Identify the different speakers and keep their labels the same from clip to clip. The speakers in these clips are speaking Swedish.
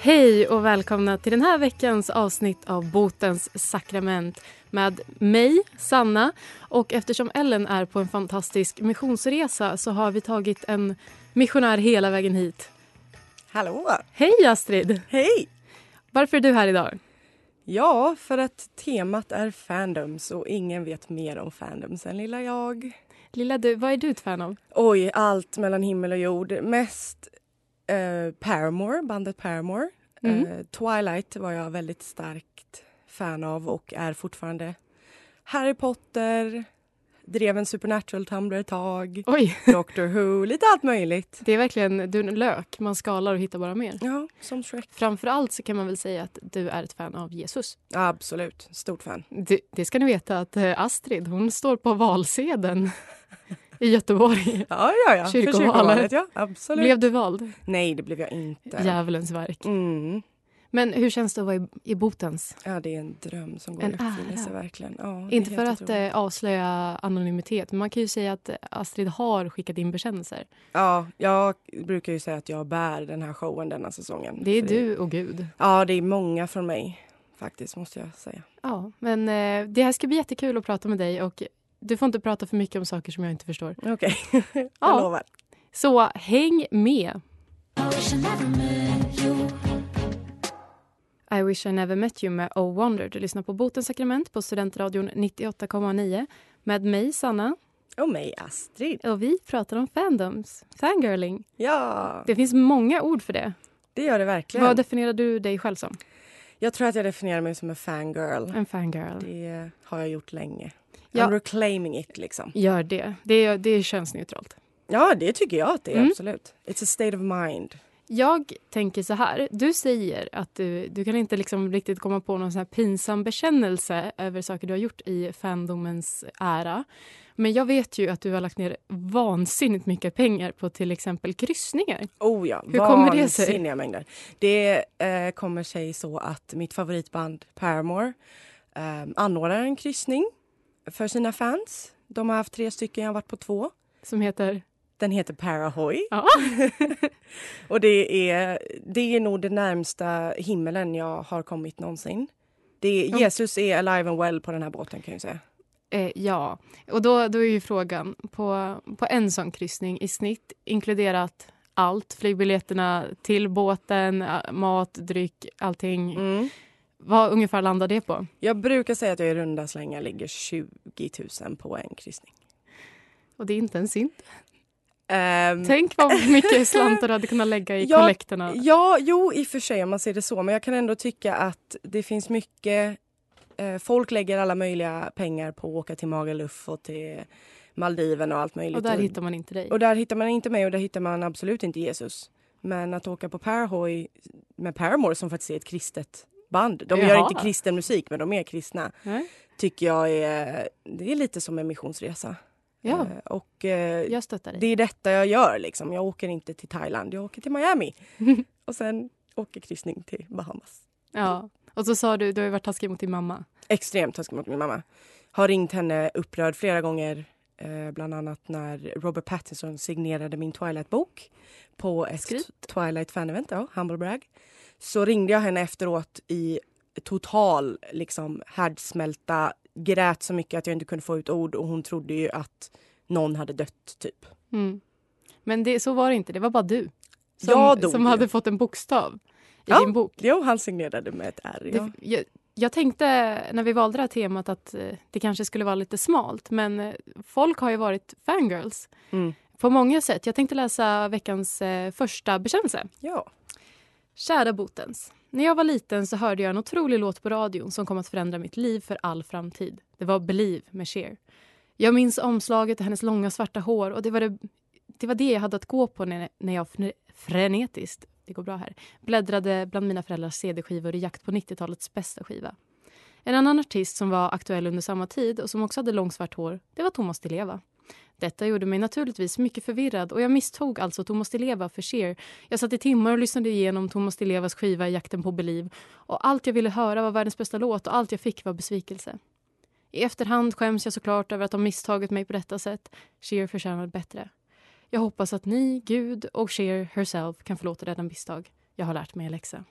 Speaker 1: Hej och välkomna till den här veckans avsnitt av Botens sakrament med mig, Sanna. Och eftersom Ellen är på en fantastisk missionsresa så har vi tagit en missionär hela vägen hit.
Speaker 2: Hallå!
Speaker 1: Hej Astrid!
Speaker 2: Hej!
Speaker 1: Varför är du här idag?
Speaker 2: Ja, för att temat är fandoms och ingen vet mer om fandoms än lilla jag.
Speaker 1: Lilla du, vad är du ett fan av?
Speaker 2: Oj, allt mellan himmel och jord. Mest eh, Paramore, bandet Paramore.
Speaker 1: Mm.
Speaker 2: Eh, Twilight var jag väldigt starkt fan av och är fortfarande. Harry Potter, drev en supernatural tumblr ett tag.
Speaker 1: Oj,
Speaker 2: Doctor Who, lite allt möjligt.
Speaker 1: det är verkligen du är en lök. Man skalar och hittar bara mer.
Speaker 2: Ja, som Shrek.
Speaker 1: Framförallt så kan man väl säga att du är ett fan av Jesus.
Speaker 2: Absolut, stort fan.
Speaker 1: Det, det ska ni veta att eh, Astrid, hon står på valsedeln i Göteborg.
Speaker 2: Ja, ja, ja. För
Speaker 1: Kyrkovalet.
Speaker 2: kyrkovalet ja. Absolut.
Speaker 1: Blev du vald?
Speaker 2: Nej, det blev jag inte.
Speaker 1: Djävulens verk.
Speaker 2: Mm.
Speaker 1: Men hur känns det att vara i, i botens?
Speaker 2: Ja, det är en dröm som går
Speaker 1: En
Speaker 2: i uppfyllelse.
Speaker 1: ära.
Speaker 2: Verkligen. Ja, det är
Speaker 1: Inte för
Speaker 2: helt
Speaker 1: att
Speaker 2: otroligt.
Speaker 1: eh, avslöja anonymitet, men man kan ju säga att eh, Astrid har skickat in bekännelser.
Speaker 2: Ja, jag brukar ju säga att jag bär den här showen denna säsongen.
Speaker 1: Det är
Speaker 2: För
Speaker 1: du och Gud.
Speaker 2: Ja, det är många från mig faktiskt, måste jag säga.
Speaker 1: Ja, men eh, det här ska bli jättekul att prata med dig och du får inte prata för mycket om saker som jag inte förstår.
Speaker 2: Okej, jag
Speaker 1: Ja.
Speaker 2: lovar.
Speaker 1: Så häng med! I wish I never met you med Oh Wonder. Du lyssnar på Botens sakrament på Studentradion 98,9 med mig, Sanna,
Speaker 2: Och mig, Astrid.
Speaker 1: och vi pratar om fandoms, fangirling.
Speaker 2: Ja,
Speaker 1: Det finns många ord för det.
Speaker 2: det gör det verkligen.
Speaker 1: Vad definierar du dig själv som?
Speaker 2: Jag tror att jag definierar mig som en fangirl.
Speaker 1: En fangirl.
Speaker 2: Det har jag gjort länge.
Speaker 1: Ja.
Speaker 2: I'm reclaiming it, liksom.
Speaker 1: Gör det. Det är, det är könsneutralt.
Speaker 2: Ja, det tycker jag att det är,
Speaker 1: Mm.
Speaker 2: absolut. It's a state of mind.
Speaker 1: Jag tänker så här. Du säger att du, du kan inte liksom riktigt komma på någon sån här pinsam bekännelse över saker du har gjort i fandomens ära. Men jag vet ju att du har lagt ner vansinnigt mycket pengar på till exempel kryssningar.
Speaker 2: Oh ja,
Speaker 1: Hur kommer det sig?
Speaker 2: vansinniga mängder. Det eh, kommer sig så att mitt favoritband Paramore eh, anordnar en kryssning för sina fans. De har haft tre stycken, jag har varit på två.
Speaker 1: Som heter...
Speaker 2: Den heter Parahoy.
Speaker 1: Ja.
Speaker 2: Och det är, det är nog det närmsta himmelen jag har kommit någonsin. Det,
Speaker 1: Ja.
Speaker 2: Jesus är alive and well på den här båten kan jag ju säga.
Speaker 1: Eh, ja. Och då, då är ju frågan, på, på en sån kryssning i snitt inkluderat allt, flygbiljetterna till båten, eh, mat, dryck, allting.
Speaker 2: Mm.
Speaker 1: Vad ungefär landar det på?
Speaker 2: Jag brukar säga att jag i runda slängar ligger 20 000 på en kryssning.
Speaker 1: Och det är inte ens synd.
Speaker 2: Ehm,
Speaker 1: Mm. Tänk vad mycket slantar du hade kunnat lägga i
Speaker 2: Jag-
Speaker 1: kollekterna.
Speaker 2: Ja, jo i och för sig om man ser det så. Men jag kan ändå tycka att det finns mycket... Eh, folk lägger alla möjliga pengar på att åka till Magaluf och till Maldiven och allt möjligt.
Speaker 1: Och där hittar man inte dig.
Speaker 2: och där hittar man inte mig och där hittar man absolut inte Jesus. Men att åka på Parahoy med Paramore som faktiskt är ett kristet band. De gör
Speaker 1: Jaha.
Speaker 2: inte kristen musik men de är kristna.
Speaker 1: Nej.
Speaker 2: Tycker jag är... Det är lite som en missionsresa.
Speaker 1: Ja,
Speaker 2: Eh, och eh,
Speaker 1: jag stöttar dig.
Speaker 2: det är detta jag gör. Liksom. Jag åker inte till Thailand, jag åker till Miami. och sen åker kryssning till Bahamas.
Speaker 1: Ja. Och så sa du, du har ju varit taskig mot din mamma.
Speaker 2: Extremt taskig mot min mamma. Har ringt henne upprörd flera gånger. Eh, bland annat när Robert Pattinson signerade min Twilight-bok på ett
Speaker 1: Skryt.
Speaker 2: Twilight fan-event, ja, humble brag. Så ringde jag henne efteråt i total liksom, härdsmälta. Grät så mycket att jag inte kunde få ut ord och hon trodde ju att någon hade dött, typ.
Speaker 1: Mm. Men det, så var det inte, det var bara du. Som,
Speaker 2: Jag dog
Speaker 1: som
Speaker 2: ju.
Speaker 1: hade fått en bokstav i
Speaker 2: Ja.
Speaker 1: din bok.
Speaker 2: Jo, han signerade med ett R. Ja.
Speaker 1: Det, jag, jag tänkte när vi valde det här temat att eh, det kanske skulle vara lite smalt men eh, folk har ju varit fangirls
Speaker 2: Mm.
Speaker 1: på många sätt. Jag tänkte läsa veckans eh, första bekännelse.
Speaker 2: ja.
Speaker 1: Kära Botens. När jag var liten så hörde jag en otrolig låt på radion som kom att förändra mitt liv för all framtid. Det var Believe med Cher. Jag minns omslaget och hennes långa svarta hår och det var det, det, var det jag hade att gå på när, när jag fre- frenetiskt det går bra här. Bläddrade bland mina föräldrars CD-skivor i jakt på 90-talets bästa skiva. En annan artist som var aktuell under samma tid och som också hade långt svart hår, det var Thomas Di Leva. Detta gjorde mig naturligtvis mycket förvirrad och jag misstog alltså Thomas Di Leva för Cher. Jag satt i timmar och lyssnade igenom Thomas Di Levas skiva i Jakten på Beliv och allt jag ville höra var världens bästa låt och allt jag fick var besvikelse. I efterhand skäms jag såklart över att ha misstagit mig på detta sätt. Cher förtjänar bättre. Jag hoppas att ni, Gud och Cher herself kan förlåta denna misstag. Jag har lärt mig en läxa.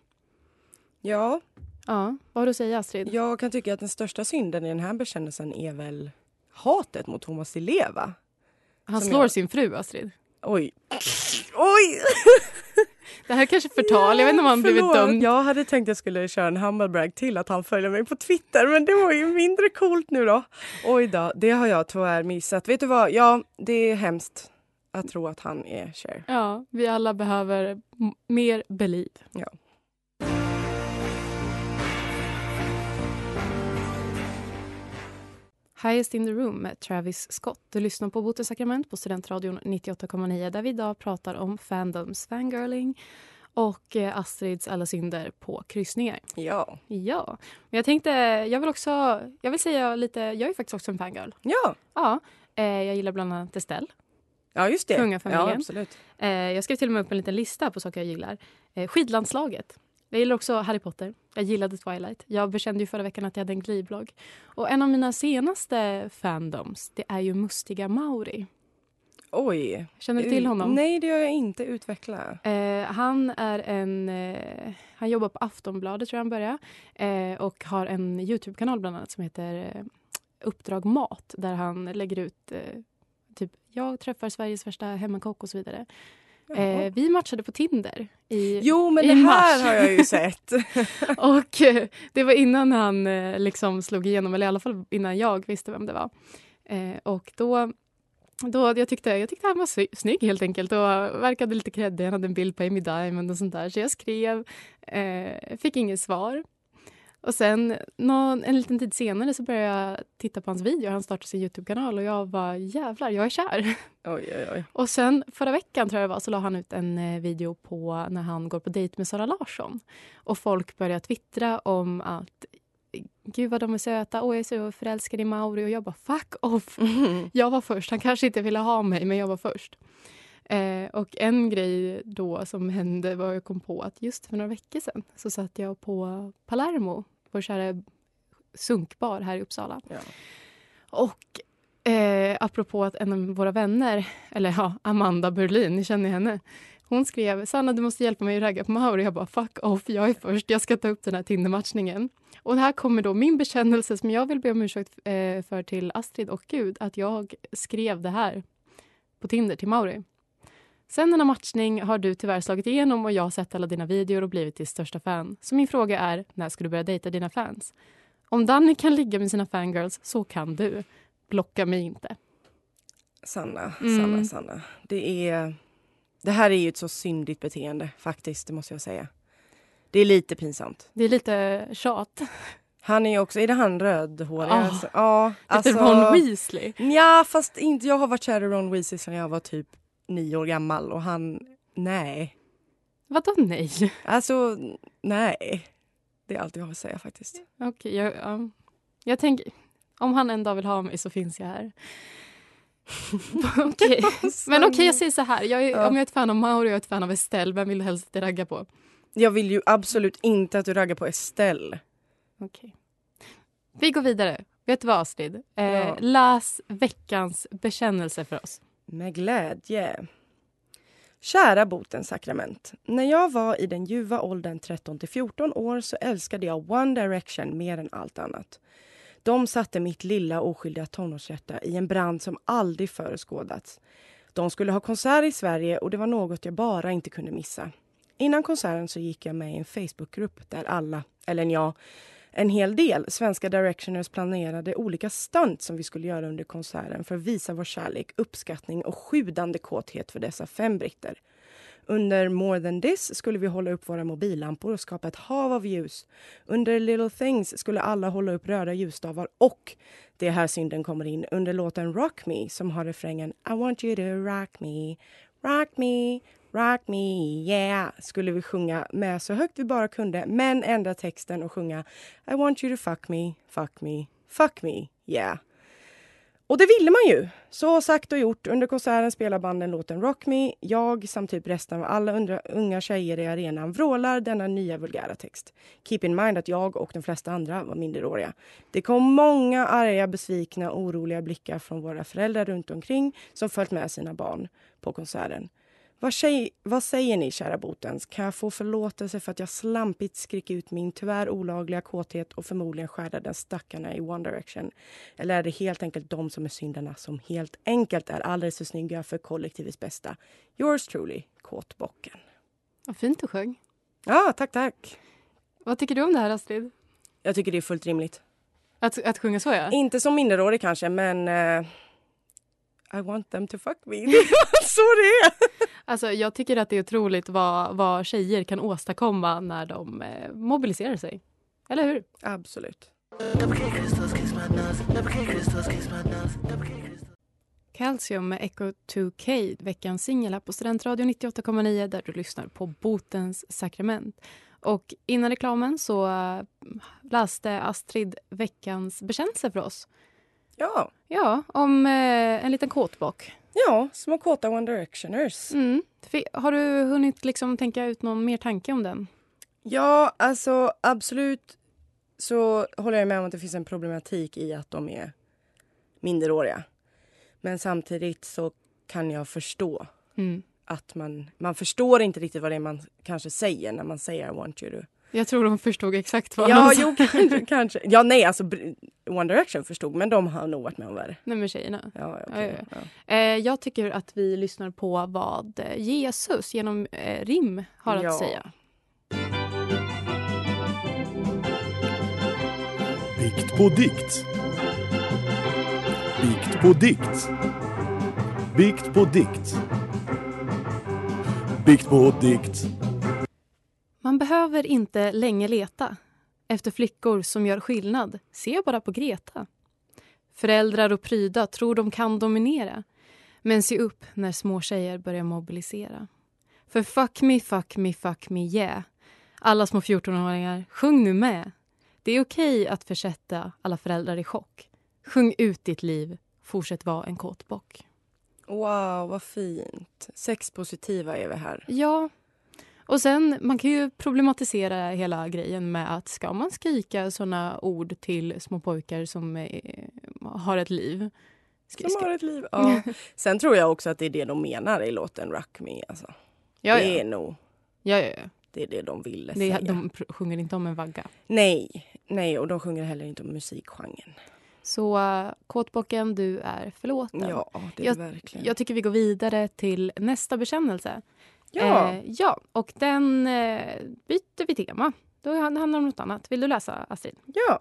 Speaker 2: Ja,
Speaker 1: Ja, vad har du att säga Astrid?
Speaker 2: jag kan tycka att den största synden i den här bekännelsen är väl hatet mot Thomas Di Leva.
Speaker 1: Han
Speaker 2: som
Speaker 1: slår
Speaker 2: jag-
Speaker 1: sin fru Astrid.
Speaker 2: Oj. Oj!
Speaker 1: Det här är kanske förtal, jag vet inte om han blivit
Speaker 2: Förlåt.
Speaker 1: dömd.
Speaker 2: Jag hade tänkt att jag skulle köra en humble brag till att han följer mig på Twitter men det var ju mindre coolt nu då. Oj då, det har jag tyvärr missat. Vet du vad, ja det är hemskt att tro att han är Cher.
Speaker 1: Ja, vi alla behöver m- mer Believe.
Speaker 2: Ja.
Speaker 1: Highest in the room med Travis Scott. Du lyssnar på Botens sakrament på Studentradion 98,9 där vi idag pratar om fandoms, fangirling och eh, Astrids alla synder på kryssningar.
Speaker 2: Ja.
Speaker 1: Ja, men jag tänkte, jag vill också, jag vill säga lite, jag är faktiskt också en fangirl.
Speaker 2: Ja,
Speaker 1: Ja, eh, jag gillar bland annat Estelle.
Speaker 2: ja just det.
Speaker 1: Kungafamiljen.
Speaker 2: Ja, absolut.
Speaker 1: Eh, jag skrev till och med upp en liten lista på saker jag gillar. Eh, skidlandslaget. Jag gillar också Harry Potter. Jag gillade Twilight. Jag bekände ju förra veckan att jag hade en glidblogg. Och en av mina senaste fandoms, det är ju Mustiga Mauri.
Speaker 2: Oj.
Speaker 1: Känner du till honom?
Speaker 2: Mm, Nej, det gör jag inte. Utveckla.
Speaker 1: Eh, han är en... Eh, han jobbar på Aftonbladet tror jag han börjar. Eh, och har en Youtube-kanal bland annat som heter eh, Uppdrag Mat där han lägger ut eh, typ jag träffar Sveriges värsta hemmakock och så vidare. Eh,
Speaker 2: Jaha.
Speaker 1: vi matchade på Tinder. I,
Speaker 2: Jo, men
Speaker 1: i
Speaker 2: det här
Speaker 1: mars.
Speaker 2: har jag ju sett.
Speaker 1: Och eh, det var innan han eh, liksom slog igenom, eller i alla fall innan jag visste vem det var. Eh, och då, då jag, tyckte, jag tyckte han var sy- snygg helt enkelt och verkade lite kreddig. Han hade en bild på Amy Diamond och sånt där. Så jag skrev, eh, fick inget svar. Och sen någon, en liten tid senare så började jag titta på hans video. Han startade sin Youtube-kanal och jag var jävlar, jag är kär.
Speaker 2: Oj, oj, oj.
Speaker 1: Och sen förra veckan tror jag det var, så la han ut en eh, video på när han går på dejt med Sara Larsson. Och folk börjar twittra om att gud vad de är söta, åh jag är så förälskad i Mauri och jag bara fuck
Speaker 2: Mm.
Speaker 1: off. Jag var först, han kanske inte ville ha mig men jag var först. Eh, och en grej då som hände var jag kom på att just för några veckor sedan så satt jag på Palermo, vår kära sunkbar här i Uppsala.
Speaker 2: Ja.
Speaker 1: Och eh, apropå att en av våra vänner, eller ja, Amanda Berlin, ni känner ju henne. Hon skrev Sanna du måste hjälpa mig att ragga på Mauri. Jag bara fuck off, jag är först, jag ska ta upp den här Tinder-matchningen. Och här kommer då min bekännelse som jag vill be om ursäkt eh, för till Astrid och Gud att jag skrev det här på Tinder till Mauri. Sen denna matchning har du tyvärr slagit igenom och jag har sett alla dina videor och blivit ditt största fan. Så min fråga är, när ska du börja dejta dina fans? Om Danny kan ligga med sina fangirls, så kan du. Blocka mig inte.
Speaker 2: Sanna,
Speaker 1: Mm.
Speaker 2: Sanna, Sanna. Det, är, det här är ju ett så syndigt beteende, faktiskt. Det måste jag säga. Det är lite pinsamt.
Speaker 1: Det är lite tjat.
Speaker 2: Han är ju också... Är det han rödhåriga?
Speaker 1: Ja.
Speaker 2: Alltså, ja, alltså,
Speaker 1: Ah, lite Ron Weasley.
Speaker 2: Nja, fast inte, jag har varit kär i Ron Weasley sedan jag var typ nio år gammal och han... Nej.
Speaker 1: Vadå nej?
Speaker 2: Alltså, nej. Det är allt jag har att säga faktiskt.
Speaker 1: Okej, jag, ja. jag tänker... Om han en dag vill ha mig så finns jag här. Okej. Men okej, jag säger så här. Jag är,
Speaker 2: Ja.
Speaker 1: Om jag är ett fan av Mauro och jag är ett fan av Estelle, vem vill du helst ragga på?
Speaker 2: Jag vill ju absolut inte att du raggar på Estelle.
Speaker 1: Okej. Vi går vidare. Vet du vad, Astrid? Eh,
Speaker 2: Ja.
Speaker 1: Läs veckans bekännelse för oss.
Speaker 2: Med glädje. Kära botens sakrament. När jag var i den ljuva åldern 13 till 14 år så älskade jag One Direction mer än allt annat. De satte mitt lilla oskyldiga tonårshjärta i en brand som aldrig föreskådats. De skulle ha konsert i Sverige och det var något jag bara inte kunde missa. Innan konserten så gick jag med i en Facebookgrupp där alla, eller jag, en hel del svenska directioners planerade olika stunt som vi skulle göra under konserten för att visa vår kärlek, uppskattning och sjudande kåthet för dessa fem britter. Under More than this skulle vi hålla upp våra mobillampor och skapa ett hav av ljus. Under Little things skulle alla hålla upp röda ljusstavar och det är här synden kommer in under låten Rock me som har refrängen I want you to rock me, rock me, Rock me yeah skulle vi sjunga med så högt vi bara kunde men ändra texten och sjunga I want you to fuck me, fuck me, fuck me yeah. Och det ville man ju. Så sagt och gjort. Under konserten spelar banden låten Rock Me. Jag, samt typ resten av alla undra, unga tjejer i arenan, vrålar denna nya vulgära text. Keep in mind att jag och de flesta andra var minderåriga. Det kom många arga, besvikna, oroliga blickar från våra föräldrar runt omkring som följt med sina barn på konserten. Vad, tjej, vad säger ni, kära botens? Kan jag få förlåtelse för att jag slampigt skrek ut min tyvärr olagliga kåthet och förmodligen skärdade stackarna i One Direction? Eller är det helt enkelt de som är syndarna som helt enkelt är alldeles för snygga för kollektivets bästa? Yours truly, Kåtbocken.
Speaker 1: Vad fint du sjöng.
Speaker 2: Ja, tack, tack.
Speaker 1: Vad tycker du om det här, Astrid?
Speaker 2: Jag tycker det är fullt rimligt.
Speaker 1: Att, att sjunga så, ja.
Speaker 2: Inte som minderårig kanske, men eh, I want them to fuck me. så det är.
Speaker 1: Alltså, jag tycker att det är otroligt vad, vad tjejer kan åstadkomma när de eh, mobiliserar sig. Eller hur?
Speaker 2: Absolut.
Speaker 1: Calcium med Echo 2K, veckans singel här på Studentradion 98,9 där du lyssnar på Botens sakrament. Och innan reklamen så eh, läste Astrid veckans bekännelse för oss.
Speaker 2: Ja,
Speaker 1: Ja, om eh, en liten kåtbock.
Speaker 2: ja små kåta One Directioners.
Speaker 1: Mm. Fi- Har du hunnit liksom tänka ut någon mer tanke om den?
Speaker 2: Ja, alltså absolut så håller jag med om att det finns en problematik i att de är minderåriga. Men samtidigt så kan jag förstå
Speaker 1: Mm.
Speaker 2: att man, man förstår inte riktigt vad det är man kanske säger när man säger I want you to.
Speaker 1: Jag tror de förstod exakt vad
Speaker 2: Ja,
Speaker 1: han sa.
Speaker 2: jo, kanske, kanske. Ja, nej, alltså br- One Direction förstod, men de har nog varit med om värre.
Speaker 1: Nej, men tjejerna.
Speaker 2: Ja,
Speaker 1: Ja,
Speaker 2: okej,
Speaker 1: ja,
Speaker 2: ja.
Speaker 1: Eh, jag tycker att vi lyssnar på vad eh, Jesus genom eh, rim har att
Speaker 2: Ja.
Speaker 1: säga.
Speaker 3: Bikt på dikt. Bikt på dikt. Bikt på dikt. Bikt på dikt.
Speaker 1: Man behöver inte länge leta efter flickor som gör skillnad. Se bara på Greta. Föräldrar och pryda tror de kan dominera. Men se upp när små tjejer börjar mobilisera. För fuck me, fuck me, fuck me, yeah. Alla små 14-åringar, sjung nu med. Det är okej att försätta alla föräldrar i chock. Sjung ut ditt liv, fortsätt vara en kåtbock.
Speaker 2: Wow, vad fint. Sexpositiva är vi här.
Speaker 1: Ja. Och sen, man kan ju problematisera hela grejen med att ska man skrika såna ord till små pojkar som eh, har ett liv? Ska,
Speaker 2: Som
Speaker 1: ska,
Speaker 2: har ett liv. Ja. Sen tror jag också att det är det de menar i låten Rock Me. Alltså.
Speaker 1: ja,
Speaker 2: Det
Speaker 1: ja,
Speaker 2: är nog
Speaker 1: ja, ja, ja.
Speaker 2: det, är det de ville
Speaker 1: Det,
Speaker 2: säga.
Speaker 1: är- de pr- sjunger inte om en vagga.
Speaker 2: Nej, nej, och de sjunger heller inte om musikgenren.
Speaker 1: Så eh, Kåtbocken, du är förlåten.
Speaker 2: Ja, det är
Speaker 1: Jag-
Speaker 2: det verkligen.
Speaker 1: Jag tycker vi går vidare till nästa bekännelse.
Speaker 2: ja,
Speaker 1: Eh, ja och den eh, byter vi tema. Då handlar det om något annat. Vill du läsa, Astrid?
Speaker 2: ja.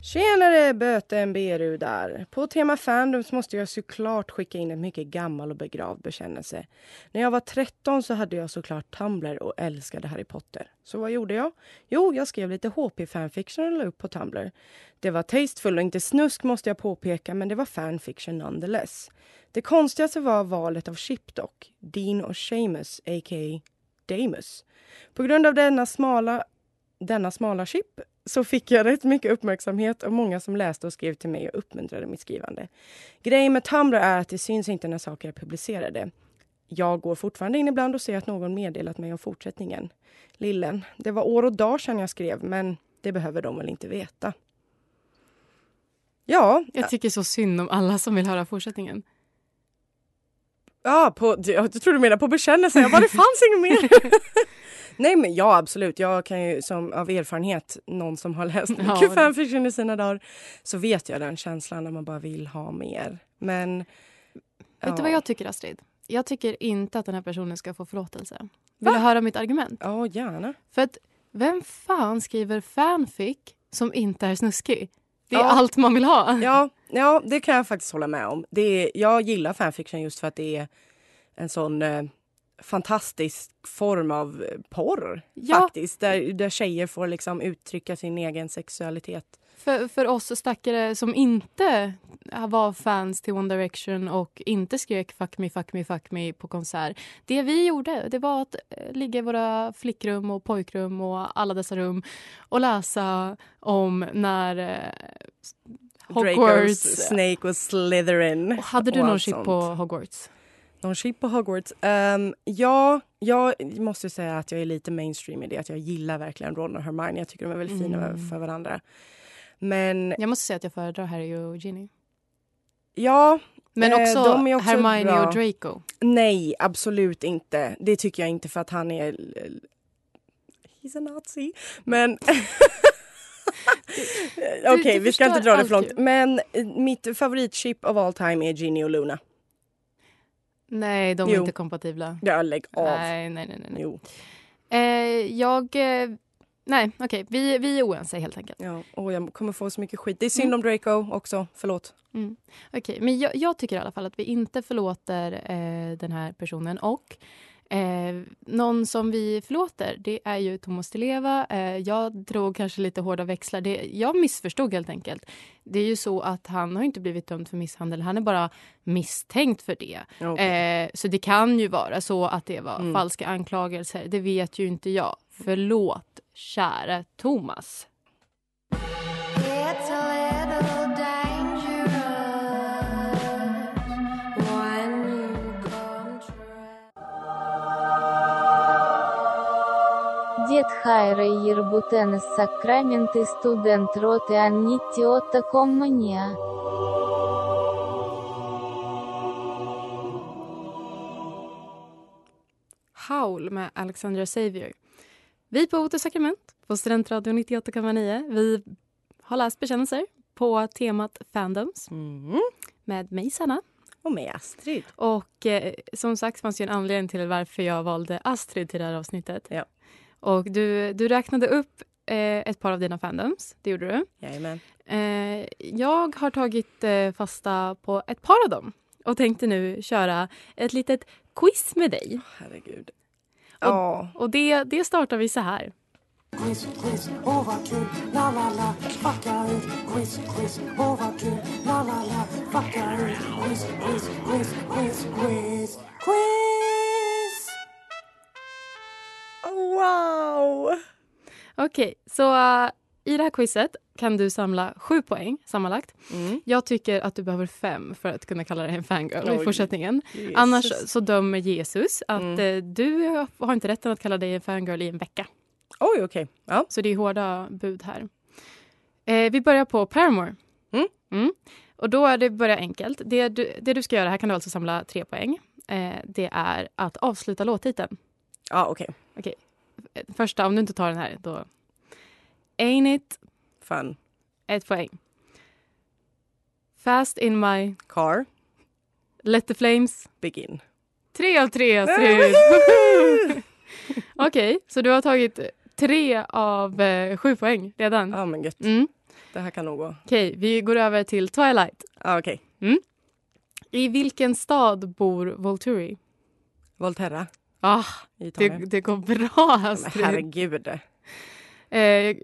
Speaker 2: Tjenare böten berudar! På tema fandoms måste jag såklart skicka in en mycket gammal och begravd bekännelse. När jag var 13 så hade jag såklart Tumblr och älskade Harry Potter. Så vad gjorde jag? Jo, jag skrev lite HP-fanfiction och la upp på Tumblr. Det var tasteful och inte snusk måste jag påpeka, men det var fanfiction nonetheless. Det konstigaste var valet av chip dock, Dean och Seamus, a.k.a. Damus. På grund av denna smala, denna smala chip så fick jag rätt mycket uppmärksamhet och många som läste och skrev till mig och uppmuntrade mitt skrivande. Grejen med Tumblr är att det syns inte när saker är publicerade. Jag går fortfarande in ibland och ser att någon meddelat mig om fortsättningen. Lillen, det var år och dagar sedan jag skrev men det behöver de väl inte veta. Ja,
Speaker 1: Jag tycker så synd om alla som vill höra fortsättningen.
Speaker 2: Ja, på, jag tror du menar på bekännelsen. Jag bara, det fanns inget mer. Nej men ja absolut, jag kan ju som av erfarenhet, någon som har läst
Speaker 1: Ja,
Speaker 2: mycket
Speaker 1: det-
Speaker 2: fanfiction i sina dagar, så vet jag den känslan när man bara vill ha mer. Men...
Speaker 1: Vet du
Speaker 2: ja.
Speaker 1: vad jag tycker, Astrid? Jag tycker inte att den här personen ska få förlåtelse. Vill du höra mitt argument?
Speaker 2: Ja, gärna.
Speaker 1: För att vem fan skriver fanfic som inte är snuskig? Det är
Speaker 2: Ja.
Speaker 1: allt man vill ha.
Speaker 2: Ja, ja, det kan jag faktiskt hålla med om. Det är, jag gillar fanfiction just för att det är en sån eh, fantastisk form av eh, porr
Speaker 1: Ja.
Speaker 2: faktiskt. Där, där tjejer får liksom uttrycka sin egen sexualitet.
Speaker 1: för, för oss stackare som inte var fans till One Direction och inte skrek fuck me, fuck me, fuck me på konsert. Det vi gjorde det var att eh, ligga i våra flickrum och pojkrum och alla dessa rum och läsa om när eh,
Speaker 2: Hogwarts,
Speaker 1: Hogwarts...
Speaker 2: Snake och Slytherin.
Speaker 1: Och hade du
Speaker 2: och
Speaker 1: någon
Speaker 2: allt
Speaker 1: chip
Speaker 2: sånt.
Speaker 1: på Hogwarts?
Speaker 2: Någon chip på Hogwarts? Ehm, ja, jag måste ju säga att jag är lite mainstream i det. Att jag gillar verkligen Ron och Hermione. Jag tycker de är väldigt fina
Speaker 1: Mm.
Speaker 2: för varandra. Men
Speaker 1: Jag måste säga att jag föredrar Harry och Ginny.
Speaker 2: ja,
Speaker 1: Men
Speaker 2: Eh,
Speaker 1: också,
Speaker 2: de är också
Speaker 1: Hermione
Speaker 2: bra.
Speaker 1: och Draco.
Speaker 2: nej, absolut inte. Det tycker jag inte för att han är... He's a nazi. Men... Okej,
Speaker 1: du
Speaker 2: vi ska inte
Speaker 1: förstör
Speaker 2: dra det för
Speaker 1: allt
Speaker 2: långt. Men eh, mitt favoritchip of all time är Ginny och Luna.
Speaker 1: Nej, de är
Speaker 2: Jo.
Speaker 1: inte kompatibla.
Speaker 2: Ja, lägg av.
Speaker 1: Nej, nej, nej. nej, nej.
Speaker 2: Jo.
Speaker 1: Eh, jag... Eh, nej, okej. Vi, vi är oense helt enkelt.
Speaker 2: Ja, och jag kommer få så mycket skit. Det är
Speaker 1: Mm.
Speaker 2: synd om Draco också. Förlåt.
Speaker 1: Okej, men jag, jag tycker i alla fall att vi inte förlåter eh, den här personen. Och eh, någon som vi förlåter, det är ju Thomas Di Leva. Eh, jag drog kanske lite hårda växlar. Det, jag missförstod helt enkelt. Det är ju så att han har inte blivit dömd för misshandel. Han är bara misstänkt för det. Eh, så det kan ju vara så att det var
Speaker 2: Mm.
Speaker 1: falska anklagelser. Det vet ju inte jag. Förlåt, kära Thomas.
Speaker 4: It's a little dangerous when you come true.
Speaker 5: Дед Хайра Ербутен из Сакраменты студент роты Аннити Отто Коммания.
Speaker 1: Howl med Alexandra Xavier. Vi på Otto Sakrament på Studentradion 98,9. Vi har läst bekännelser på temat Fandoms
Speaker 2: Mm.
Speaker 1: med mig, Sanna.
Speaker 2: Och med Astrid.
Speaker 1: Och eh, som sagt fanns ju en anledning till varför jag valde Astrid till det här avsnittet.
Speaker 2: Ja.
Speaker 1: Och du, du räknade upp eh, ett par av dina Fandoms. Det gjorde du.
Speaker 2: Jajamän.
Speaker 1: Eh, jag har tagit eh, fasta på ett par av dem och tänkte nu köra ett litet quiz med dig.
Speaker 2: Herregud.
Speaker 1: Och-
Speaker 2: Ja.
Speaker 1: Och det, det startar vi så här.
Speaker 6: Quiz, quiz, åh vad kul, la la la, fucka ut. Quiz, quiz, åh vad kul, la la la, fucka ut. Quiz, quiz, quiz, quiz, quiz, quiz.
Speaker 2: Wow!
Speaker 1: Okej, så eh, i det här quizet kan du samla sju poäng sammanlagt.
Speaker 2: Mm.
Speaker 1: Jag tycker att du behöver fem för att kunna kalla dig en fangirl i
Speaker 2: Oj. Mm.
Speaker 1: fortsättningen. Annars så dömer Jesus att eh, du har inte rätten att kalla dig en fangirl i en vecka.
Speaker 2: Oj, okej. Ja.
Speaker 1: Så det är hårda bud här. Eh, vi börjar på Paramore.
Speaker 2: Mm.
Speaker 1: Och då är det börja enkelt. Det du, det du ska göra, här kan du alltså samla tre poäng. Eh, det är att avsluta låttiteln.
Speaker 2: Ja, okej.
Speaker 1: Eh, Första, om du inte tar den här, då... Ain't it,
Speaker 2: Fun.
Speaker 1: ett poäng. Fast in my...
Speaker 2: Car.
Speaker 1: Let the flames.
Speaker 2: Begin.
Speaker 1: Tre av tre, Astrid! Okej, så du har tagit tre av eh, sju poäng redan.
Speaker 2: Ja, men gött.
Speaker 1: Mm.
Speaker 2: Det här kan nog gå.
Speaker 1: Okej, vi går över till Twilight.
Speaker 2: Ja, okej.
Speaker 1: I vilken stad bor Volturi?
Speaker 2: Volterra
Speaker 1: Ah,
Speaker 2: i
Speaker 1: det,
Speaker 2: Italien.
Speaker 1: det går bra,
Speaker 2: Men
Speaker 1: Astrid.
Speaker 2: herregud.
Speaker 1: Eh,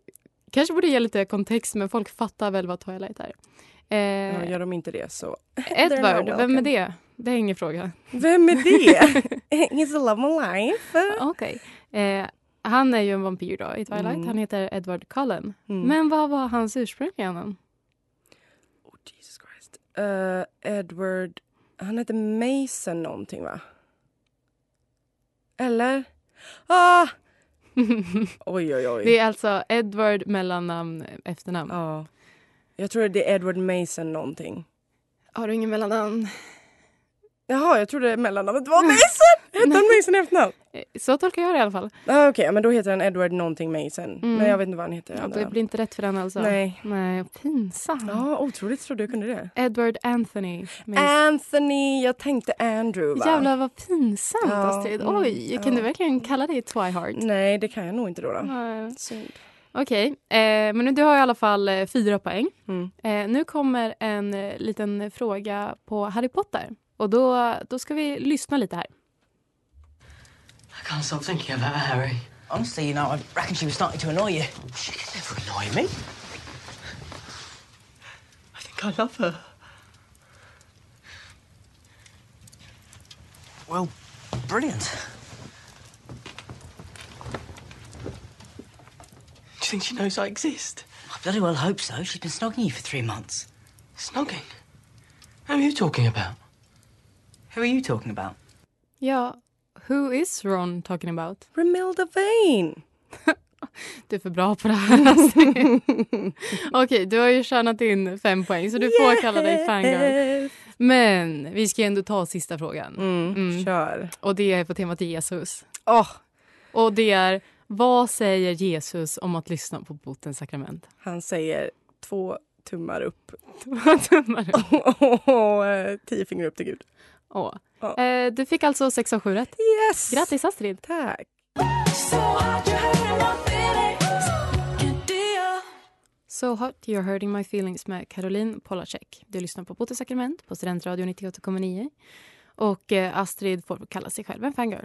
Speaker 1: kanske borde ge lite kontext, men folk fattar väl vad Twilight är.
Speaker 2: Ja,
Speaker 1: Eh,
Speaker 2: gör de inte det så...
Speaker 1: Edward,
Speaker 2: not
Speaker 1: vem är
Speaker 2: welcome.
Speaker 1: det? Det är ingen fråga.
Speaker 2: Vem är det? He's the love of my life.
Speaker 1: Okej. Eh, han är ju en vampyr då, i Twilight.
Speaker 2: Mm.
Speaker 1: Han heter Edward Cullen.
Speaker 2: Mm.
Speaker 1: Men vad var hans ursprungliga namn?
Speaker 2: Oh, Jesus Christ. Eh, Edward... Han heter Mason någonting, va? Eller? Ah! Oj, oj, oj.
Speaker 1: det är alltså Edward mellannamn efternamn.
Speaker 2: Ja. Jag tror det är Edward Mason någonting.
Speaker 1: Har du ingen mellannamn?
Speaker 2: Jaha, jag trodde mellannamnet var Mason! Hette han Mason i efternamn?
Speaker 1: Eh, Så tolkar jag det i alla fall.
Speaker 2: Ah, Okej, men då heter han Edward någonting Mason. Men jag vet inte vad han heter. i
Speaker 1: Mm. Ja,
Speaker 2: andra
Speaker 1: det blir inte rätt för den alltså.
Speaker 2: Nej.
Speaker 1: Nej, pinsamt.
Speaker 2: Ja, otroligt trodde jag kunde det.
Speaker 1: Edward Anthony. Mason.
Speaker 2: Anthony, jag tänkte Andrew va?
Speaker 1: Jävlar vad pinsamt
Speaker 2: Ja,
Speaker 1: Astrid.
Speaker 2: mm,
Speaker 1: Oj, kan
Speaker 2: ja.
Speaker 1: du verkligen kalla dig Twihard?
Speaker 2: Nej, det kan jag nog inte då. då.
Speaker 1: Nej.
Speaker 2: Synd.
Speaker 1: Okej, eh, men nu- du har i alla fall eh, fyra poäng.
Speaker 2: Mm.
Speaker 1: Eh, nu kommer en eh, liten fråga på Harry Potter. Och då, då ska vi lyssna lite här.
Speaker 7: I can't stop thinking about Harry. Honestly, you know, I reckon she was starting to annoy you. She could never annoy me. I love her. Well, brilliant. Do you think she knows I exist? I bloody well hope so. She's been snogging you for three months. Snogging? Who are you talking about? Who are you talking about?
Speaker 1: Ja, who is Ron talking about?
Speaker 2: Remelda Vane!
Speaker 1: Du är för bra på det här. Astrid. Okej, du har ju tjänat in fem poäng så du får kalla dig fangirl.
Speaker 2: Yes.
Speaker 1: Men vi ska ju ändå ta sista frågan.
Speaker 2: Mm,
Speaker 1: Mm.
Speaker 2: Kör.
Speaker 1: Och det är på temat Jesus.
Speaker 2: Åh,
Speaker 1: Och det är vad säger Jesus om att lyssna på botens sakrament?
Speaker 2: han säger två tummar upp
Speaker 1: Tummar upp.
Speaker 2: och eh, tio fingrar upp till Gud.
Speaker 1: Åh.
Speaker 2: Ja.
Speaker 1: Eh, du fick alltså 6 av 7 rätt.
Speaker 2: Yes!
Speaker 1: Grattis Astrid!
Speaker 2: Tack.
Speaker 1: So hot you're hurting my feelings med Caroline Polacek. Du lyssnar på Botens sakrament på Studentradio 98,9. Och eh, Astrid får kalla sig själv en fangirl.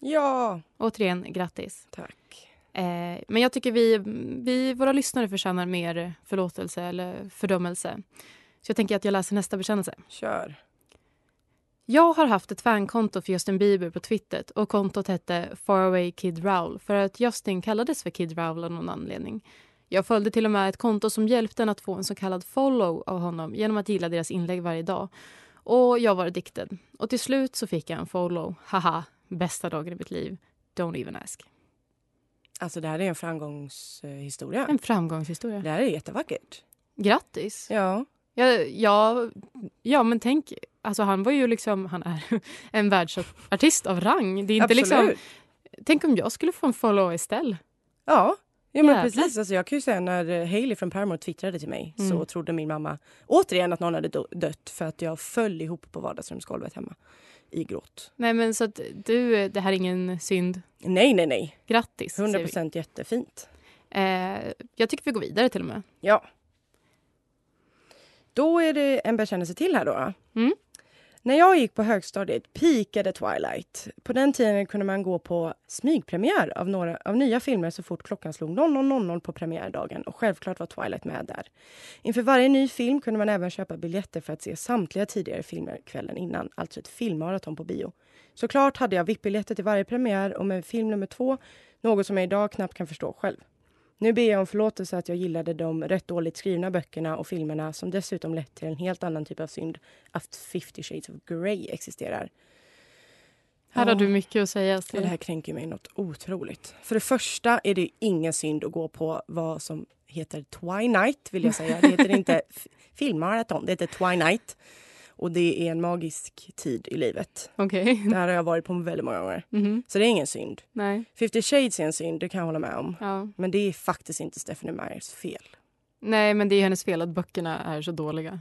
Speaker 2: Ja,
Speaker 1: Återigen, grattis.
Speaker 2: tack.
Speaker 1: Eh, men jag tycker vi, vi, våra lyssnare förtjänar mer förlåtelse eller fördömelse. Så jag tänker att jag läser nästa bekännelse.
Speaker 2: Kör.
Speaker 1: Jag har haft ett fankonto för Justin Bieber på Twitter och kontot hette Faraway Kid Raoul för att Justin kallades för Kid Raoul av någon anledning. Jag följde till och med ett konto som hjälpte en att få en så kallad follow av honom genom att gilla deras inlägg varje dag. Och jag var addicted. Och till slut så fick jag en follow. Haha, bästa dagen i mitt liv. Don't even ask.
Speaker 2: Alltså det här är en framgångshistoria.
Speaker 1: En framgångshistoria.
Speaker 2: Det här är jättevackert.
Speaker 1: Grattis!
Speaker 2: Ja.
Speaker 1: Ja, ja, ja men tänk, alltså han var ju liksom, han är en världsartist av rang. Det är inte
Speaker 2: Absolut.
Speaker 1: liksom, tänk om jag skulle få en follow istället.
Speaker 2: Ja. Ja, men
Speaker 1: Jävlar.
Speaker 2: precis. Alltså, jag kan ju säga när Hailey från Paramore twittrade till mig
Speaker 1: Mm.
Speaker 2: så trodde min mamma återigen att någon hade dö- dött för att jag föll ihop på vardagsrumsgolvet hemma i gråt.
Speaker 1: Nej men så att du, det här är ingen synd.
Speaker 2: Nej, nej, nej.
Speaker 1: Grattis
Speaker 2: 100
Speaker 1: säger vi.
Speaker 2: procent jättefint.
Speaker 1: Eh, jag tycker vi går vidare till och med.
Speaker 2: Ja. Då är det en bekännelse till här då.
Speaker 1: Mm.
Speaker 2: När jag gick på högstadiet peakade Twilight. På den tiden kunde man gå på smygpremiär av några av nya filmer så fort klockan slog 00.00 på premiärdagen och självklart var Twilight med där. Inför varje ny film kunde man även köpa biljetter för att se samtliga tidigare filmer kvällen innan, alltså ett filmmaraton på bio. Såklart hade jag VIP-biljetter till varje premiär och med film nummer två, något som jag idag knappt kan förstå själv. Nu ber jag om förlåtelse att jag gillade de rätt dåligt skrivna böckerna och filmerna som dessutom lett till en helt annan typ av synd, att 50 shades of Grey existerar.
Speaker 1: Här
Speaker 2: Ja.
Speaker 1: har du mycket att säga
Speaker 2: Ja, Det
Speaker 1: Astrid.
Speaker 2: här kränker mig något otroligt. För det första är det ju ingen synd att gå på vad som heter Twilight, vill jag säga. Det heter inte f- filmmaraton, det heter Twilight. Och det är en magisk tid i livet.
Speaker 1: Okej.
Speaker 2: Det här har jag varit på väldigt många gånger.
Speaker 1: Mhm.
Speaker 2: Så det är ingen synd.
Speaker 1: Nej.
Speaker 2: 50 shades är en synd, det kan jag hålla med om.
Speaker 1: Ja.
Speaker 2: Men det är faktiskt inte Stephanie Meyers fel.
Speaker 1: Nej men det är hennes fel att böckerna är så dåliga.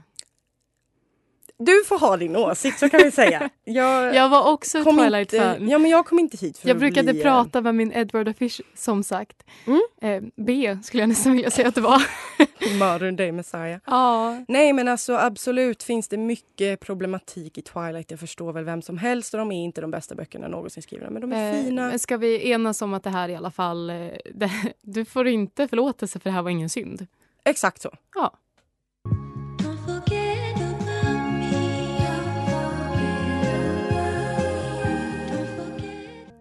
Speaker 2: Du får ha din åsikt, så kan vi säga. Jag,
Speaker 1: Jag var också
Speaker 2: Eh, kom
Speaker 1: Twilight-fan.
Speaker 2: inte, ja, men jag kom inte hit för
Speaker 1: Jag
Speaker 2: att
Speaker 1: brukade
Speaker 2: bli, eh,
Speaker 1: prata med min Edward Fish som sagt.
Speaker 2: Mm.
Speaker 1: Eh, B skulle jag nästan vilja säga att det var.
Speaker 2: Modern Day Messiah.
Speaker 1: Ja.
Speaker 2: Nej, men alltså absolut finns det mycket problematik i Twilight. Jag förstår väl vem som helst och de är inte de bästa böckerna någonsin skrivna, men de är
Speaker 1: Eh,
Speaker 2: fina.
Speaker 1: men ska vi enas om att det här i alla fall... eh, Det, du får inte förlåtelse för det här var ingen synd.
Speaker 2: Exakt så.
Speaker 1: Ja.
Speaker 4: Don't forget about me. Don't forget.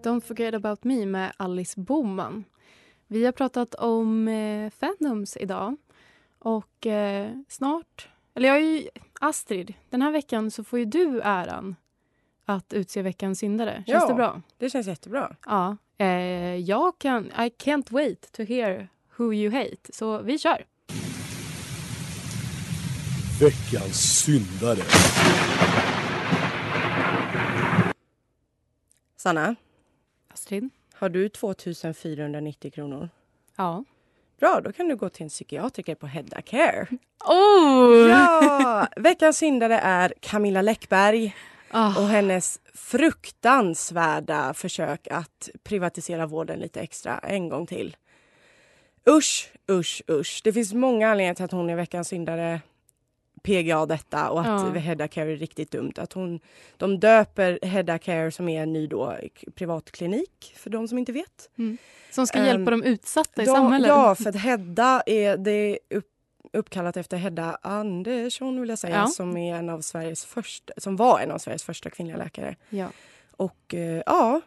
Speaker 1: Don't forget about me med Alice Boman. Vi har pratat om eh, fandoms idag. Och eh, snart... Eller jag är ju... Astrid, den här veckan så får ju du äran att utse veckans syndare. Känns
Speaker 2: Ja.
Speaker 1: det bra?
Speaker 2: Det känns jättebra.
Speaker 1: Ja. Eh, jag kan... I can't wait to hear who you hate. Så vi kör!
Speaker 3: Veckans syndare.
Speaker 2: Sanna,
Speaker 1: Astrid?
Speaker 2: har du 2490 kronor?
Speaker 1: Ja.
Speaker 2: Bra, då kan du gå till en psykiatriker på Hedda Care.
Speaker 1: Oh!
Speaker 2: Ja! Veckans syndare är Camilla Läckberg
Speaker 1: Ah.
Speaker 2: och hennes fruktansvärda försök att privatisera vården lite extra en gång till. Usch, usch, usch. Det finns många anledningar till att hon är veckans syndare. PGA detta och att
Speaker 1: Ja.
Speaker 2: Hedda Care är riktigt dumt. Att hon, de döper Hedda Care som är en ny då, k- privatklinik för de som inte vet.
Speaker 1: Som ska hjälpa
Speaker 2: Ehm,
Speaker 1: de utsatta i
Speaker 2: Ja,
Speaker 1: samhället.
Speaker 2: Ja, för att Hedda är, det är upp, uppkallat efter Hedda Andersson vill jag säga,
Speaker 1: Ja.
Speaker 2: som, är en av Sveriges första, som var en av Sveriges första kvinnliga läkare.
Speaker 1: Ja.
Speaker 2: Och eh, ja,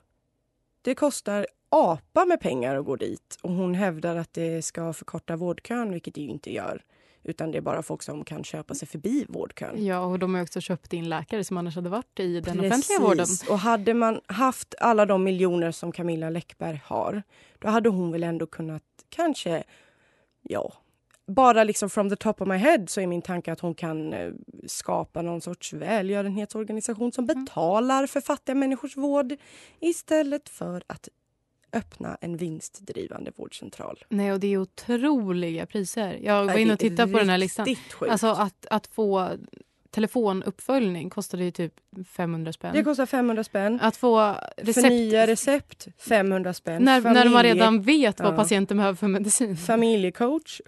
Speaker 2: det kostar apa med pengar att gå dit och hon hävdar att det ska förkorta vårdkön, vilket det ju inte gör. Utan det är bara folk som kan köpa sig förbi vårdkön.
Speaker 1: ja, och de har också köpt in läkare som annars hade varit i den offentliga vården.
Speaker 2: Och hade man haft alla de miljoner som Camilla Läckberg har, då hade hon väl ändå kunnat kanske, ja, bara liksom from the top of my head så är min tanke att hon kan eh, skapa någon sorts välgörenhetsorganisation som
Speaker 1: Mm.
Speaker 2: betalar för fattiga människors vård istället för att öppna en vinstdrivande vårdcentral.
Speaker 1: Nej, och det är otroliga priser. Jag var
Speaker 2: Nej,
Speaker 1: inne
Speaker 2: det
Speaker 1: och
Speaker 2: är
Speaker 1: tittade på den här listan.
Speaker 2: riktigt sjukt.
Speaker 1: Alltså att, att få telefonuppföljning kostade ju typ 500 spänn.
Speaker 2: det kostar 500 spänn.
Speaker 1: Att få
Speaker 2: Recept. Förnya recept, 500 spänn.
Speaker 1: när, när man
Speaker 2: Familje-
Speaker 1: redan vet vad
Speaker 2: Ja.
Speaker 1: patienten behöver för medicin.
Speaker 2: Familjecoach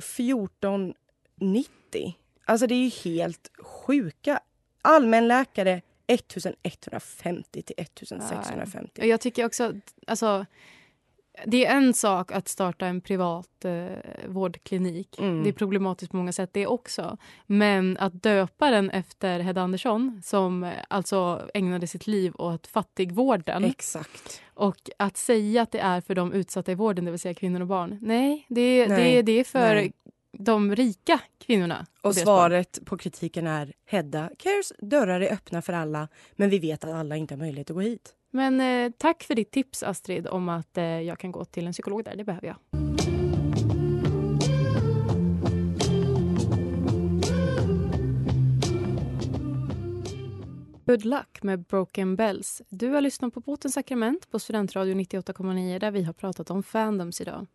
Speaker 2: 1490. Alltså det är ju helt sjuka. Allmänläkare 1150 till 1650.
Speaker 1: Och Jag tycker också att alltså, det är en sak att starta en privat eh, vårdklinik.
Speaker 2: Mm.
Speaker 1: Det är problematiskt på många sätt det också. Men att döpa den efter Hedda Andersson som eh, alltså ägnade sitt liv åt fattigvården
Speaker 2: Exakt.
Speaker 1: och att säga att det är för de utsatta i vården, det vill säga kvinnor och barn. Nej, det, är-
Speaker 2: Nej,
Speaker 1: Det, är- det är för
Speaker 2: nej.
Speaker 1: de rika kvinnorna. på
Speaker 2: Och
Speaker 1: deras
Speaker 2: svaret på kritiken är Hedda Cares dörrar är öppna för alla men vi vet att alla inte har möjlighet att gå hit.
Speaker 1: Men eh, tack för ditt tips, Astrid, om att eh, jag kan gå till en psykolog där. Det behöver jag. Good luck med Broken Bells. Du har lyssnat på Båtens sakrament på Studentradio 98,9 där vi har pratat om fandoms idag.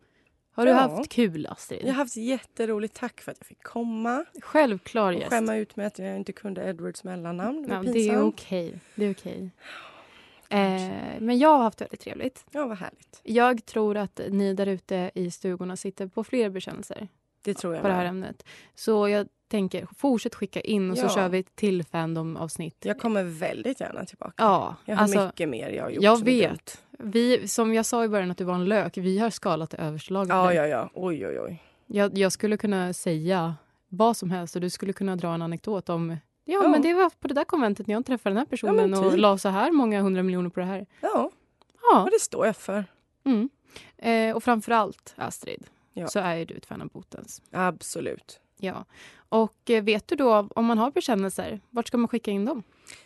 Speaker 1: Har du
Speaker 2: Ja.
Speaker 1: haft kul, Astrid?
Speaker 2: Jag har haft jätteroligt. Tack för att jag fick komma
Speaker 1: Självklar
Speaker 2: och
Speaker 1: gäst.
Speaker 2: skämma ut med att jag inte kunde Edwards mellannamn. Det
Speaker 1: Ja,
Speaker 2: var
Speaker 1: det är
Speaker 2: pinsamt.
Speaker 1: okej. Det är okej. Eh, men jag har haft väldigt trevligt.
Speaker 2: Ja, vad härligt.
Speaker 1: Jag tror att ni där ute i stugorna sitter på fler bekännelser
Speaker 2: Det tror jag.
Speaker 1: på det här
Speaker 2: med.
Speaker 1: ämnet. Så jag tänker, fortsätt skicka in och
Speaker 2: Ja.
Speaker 1: så kör vi ett till Fandom-avsnitt.
Speaker 2: Jag kommer väldigt gärna tillbaka.
Speaker 1: ja,
Speaker 2: Jag har
Speaker 1: alltså,
Speaker 2: mycket mer jag har gjort.
Speaker 1: jag
Speaker 2: som är dumt.
Speaker 1: vet. Vi, som jag sa i början att du var en lök, vi har skalat det överslaget
Speaker 2: Ja,
Speaker 1: nu.
Speaker 2: ja, ja. Oj, oj, oj.
Speaker 1: Jag, jag skulle kunna säga vad som helst och du skulle kunna dra en anekdot om Ja,
Speaker 2: Ja.
Speaker 1: men det var på det där konventet när jag träffade den här personen
Speaker 2: men
Speaker 1: och
Speaker 2: typ.
Speaker 1: la så här många hundra miljoner på det här.
Speaker 2: Ja,
Speaker 1: Ja.
Speaker 2: men det står jag för.
Speaker 1: Mm. Eh, och framför allt, Astrid,
Speaker 2: Ja.
Speaker 1: så är ju du ett fan av botens.
Speaker 2: Absolut.
Speaker 1: Ja. Och eh, vet du då, om man har bekännelser, vart ska man skicka in dem?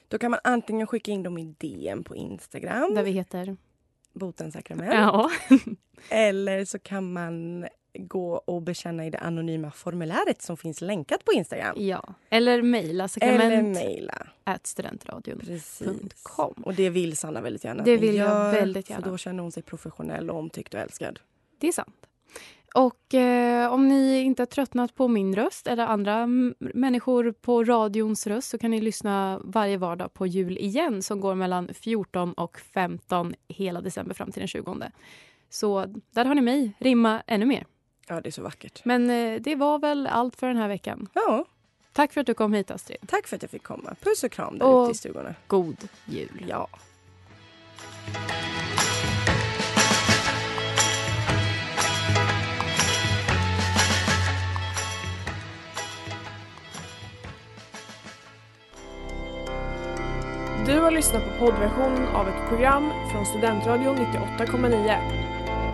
Speaker 2: Då kan man antingen skicka in dem i DM på Instagram,
Speaker 1: Där vi heter...
Speaker 2: Botens sakrament,
Speaker 1: Ja.
Speaker 2: eller så kan man gå och bekänna i det anonyma formuläret som finns länkat på Instagram.
Speaker 1: ja. Eller mejla
Speaker 2: Eller
Speaker 1: sakrament
Speaker 2: mejla.
Speaker 1: at studentradion.
Speaker 2: Precis.
Speaker 1: .com.
Speaker 2: Och det vill Sanna väldigt gärna att
Speaker 1: Det
Speaker 2: ni
Speaker 1: vill jag
Speaker 2: gör,
Speaker 1: väldigt gärna.
Speaker 2: För då känner hon sig professionell och omtyckt och älskad.
Speaker 1: Det är sant. Och eh, om ni inte har tröttnat på min röst eller andra m- människor på radions röst så kan ni lyssna varje vardag på Jul igen som går mellan 14 och 15 hela december fram till den 20. Så där har ni mig rimma ännu mer.
Speaker 2: Ja, det är så vackert.
Speaker 1: Men eh, det var väl allt för den här veckan.
Speaker 2: Ja,
Speaker 1: Tack för att du kom hit, Astrid.
Speaker 2: tack för att jag fick komma. Puss och kram där
Speaker 1: Och-
Speaker 2: ute i stugorna.
Speaker 1: God jul.
Speaker 2: Ja.
Speaker 8: Du har lyssnat på poddversionen av ett program från Studentradion 98,9.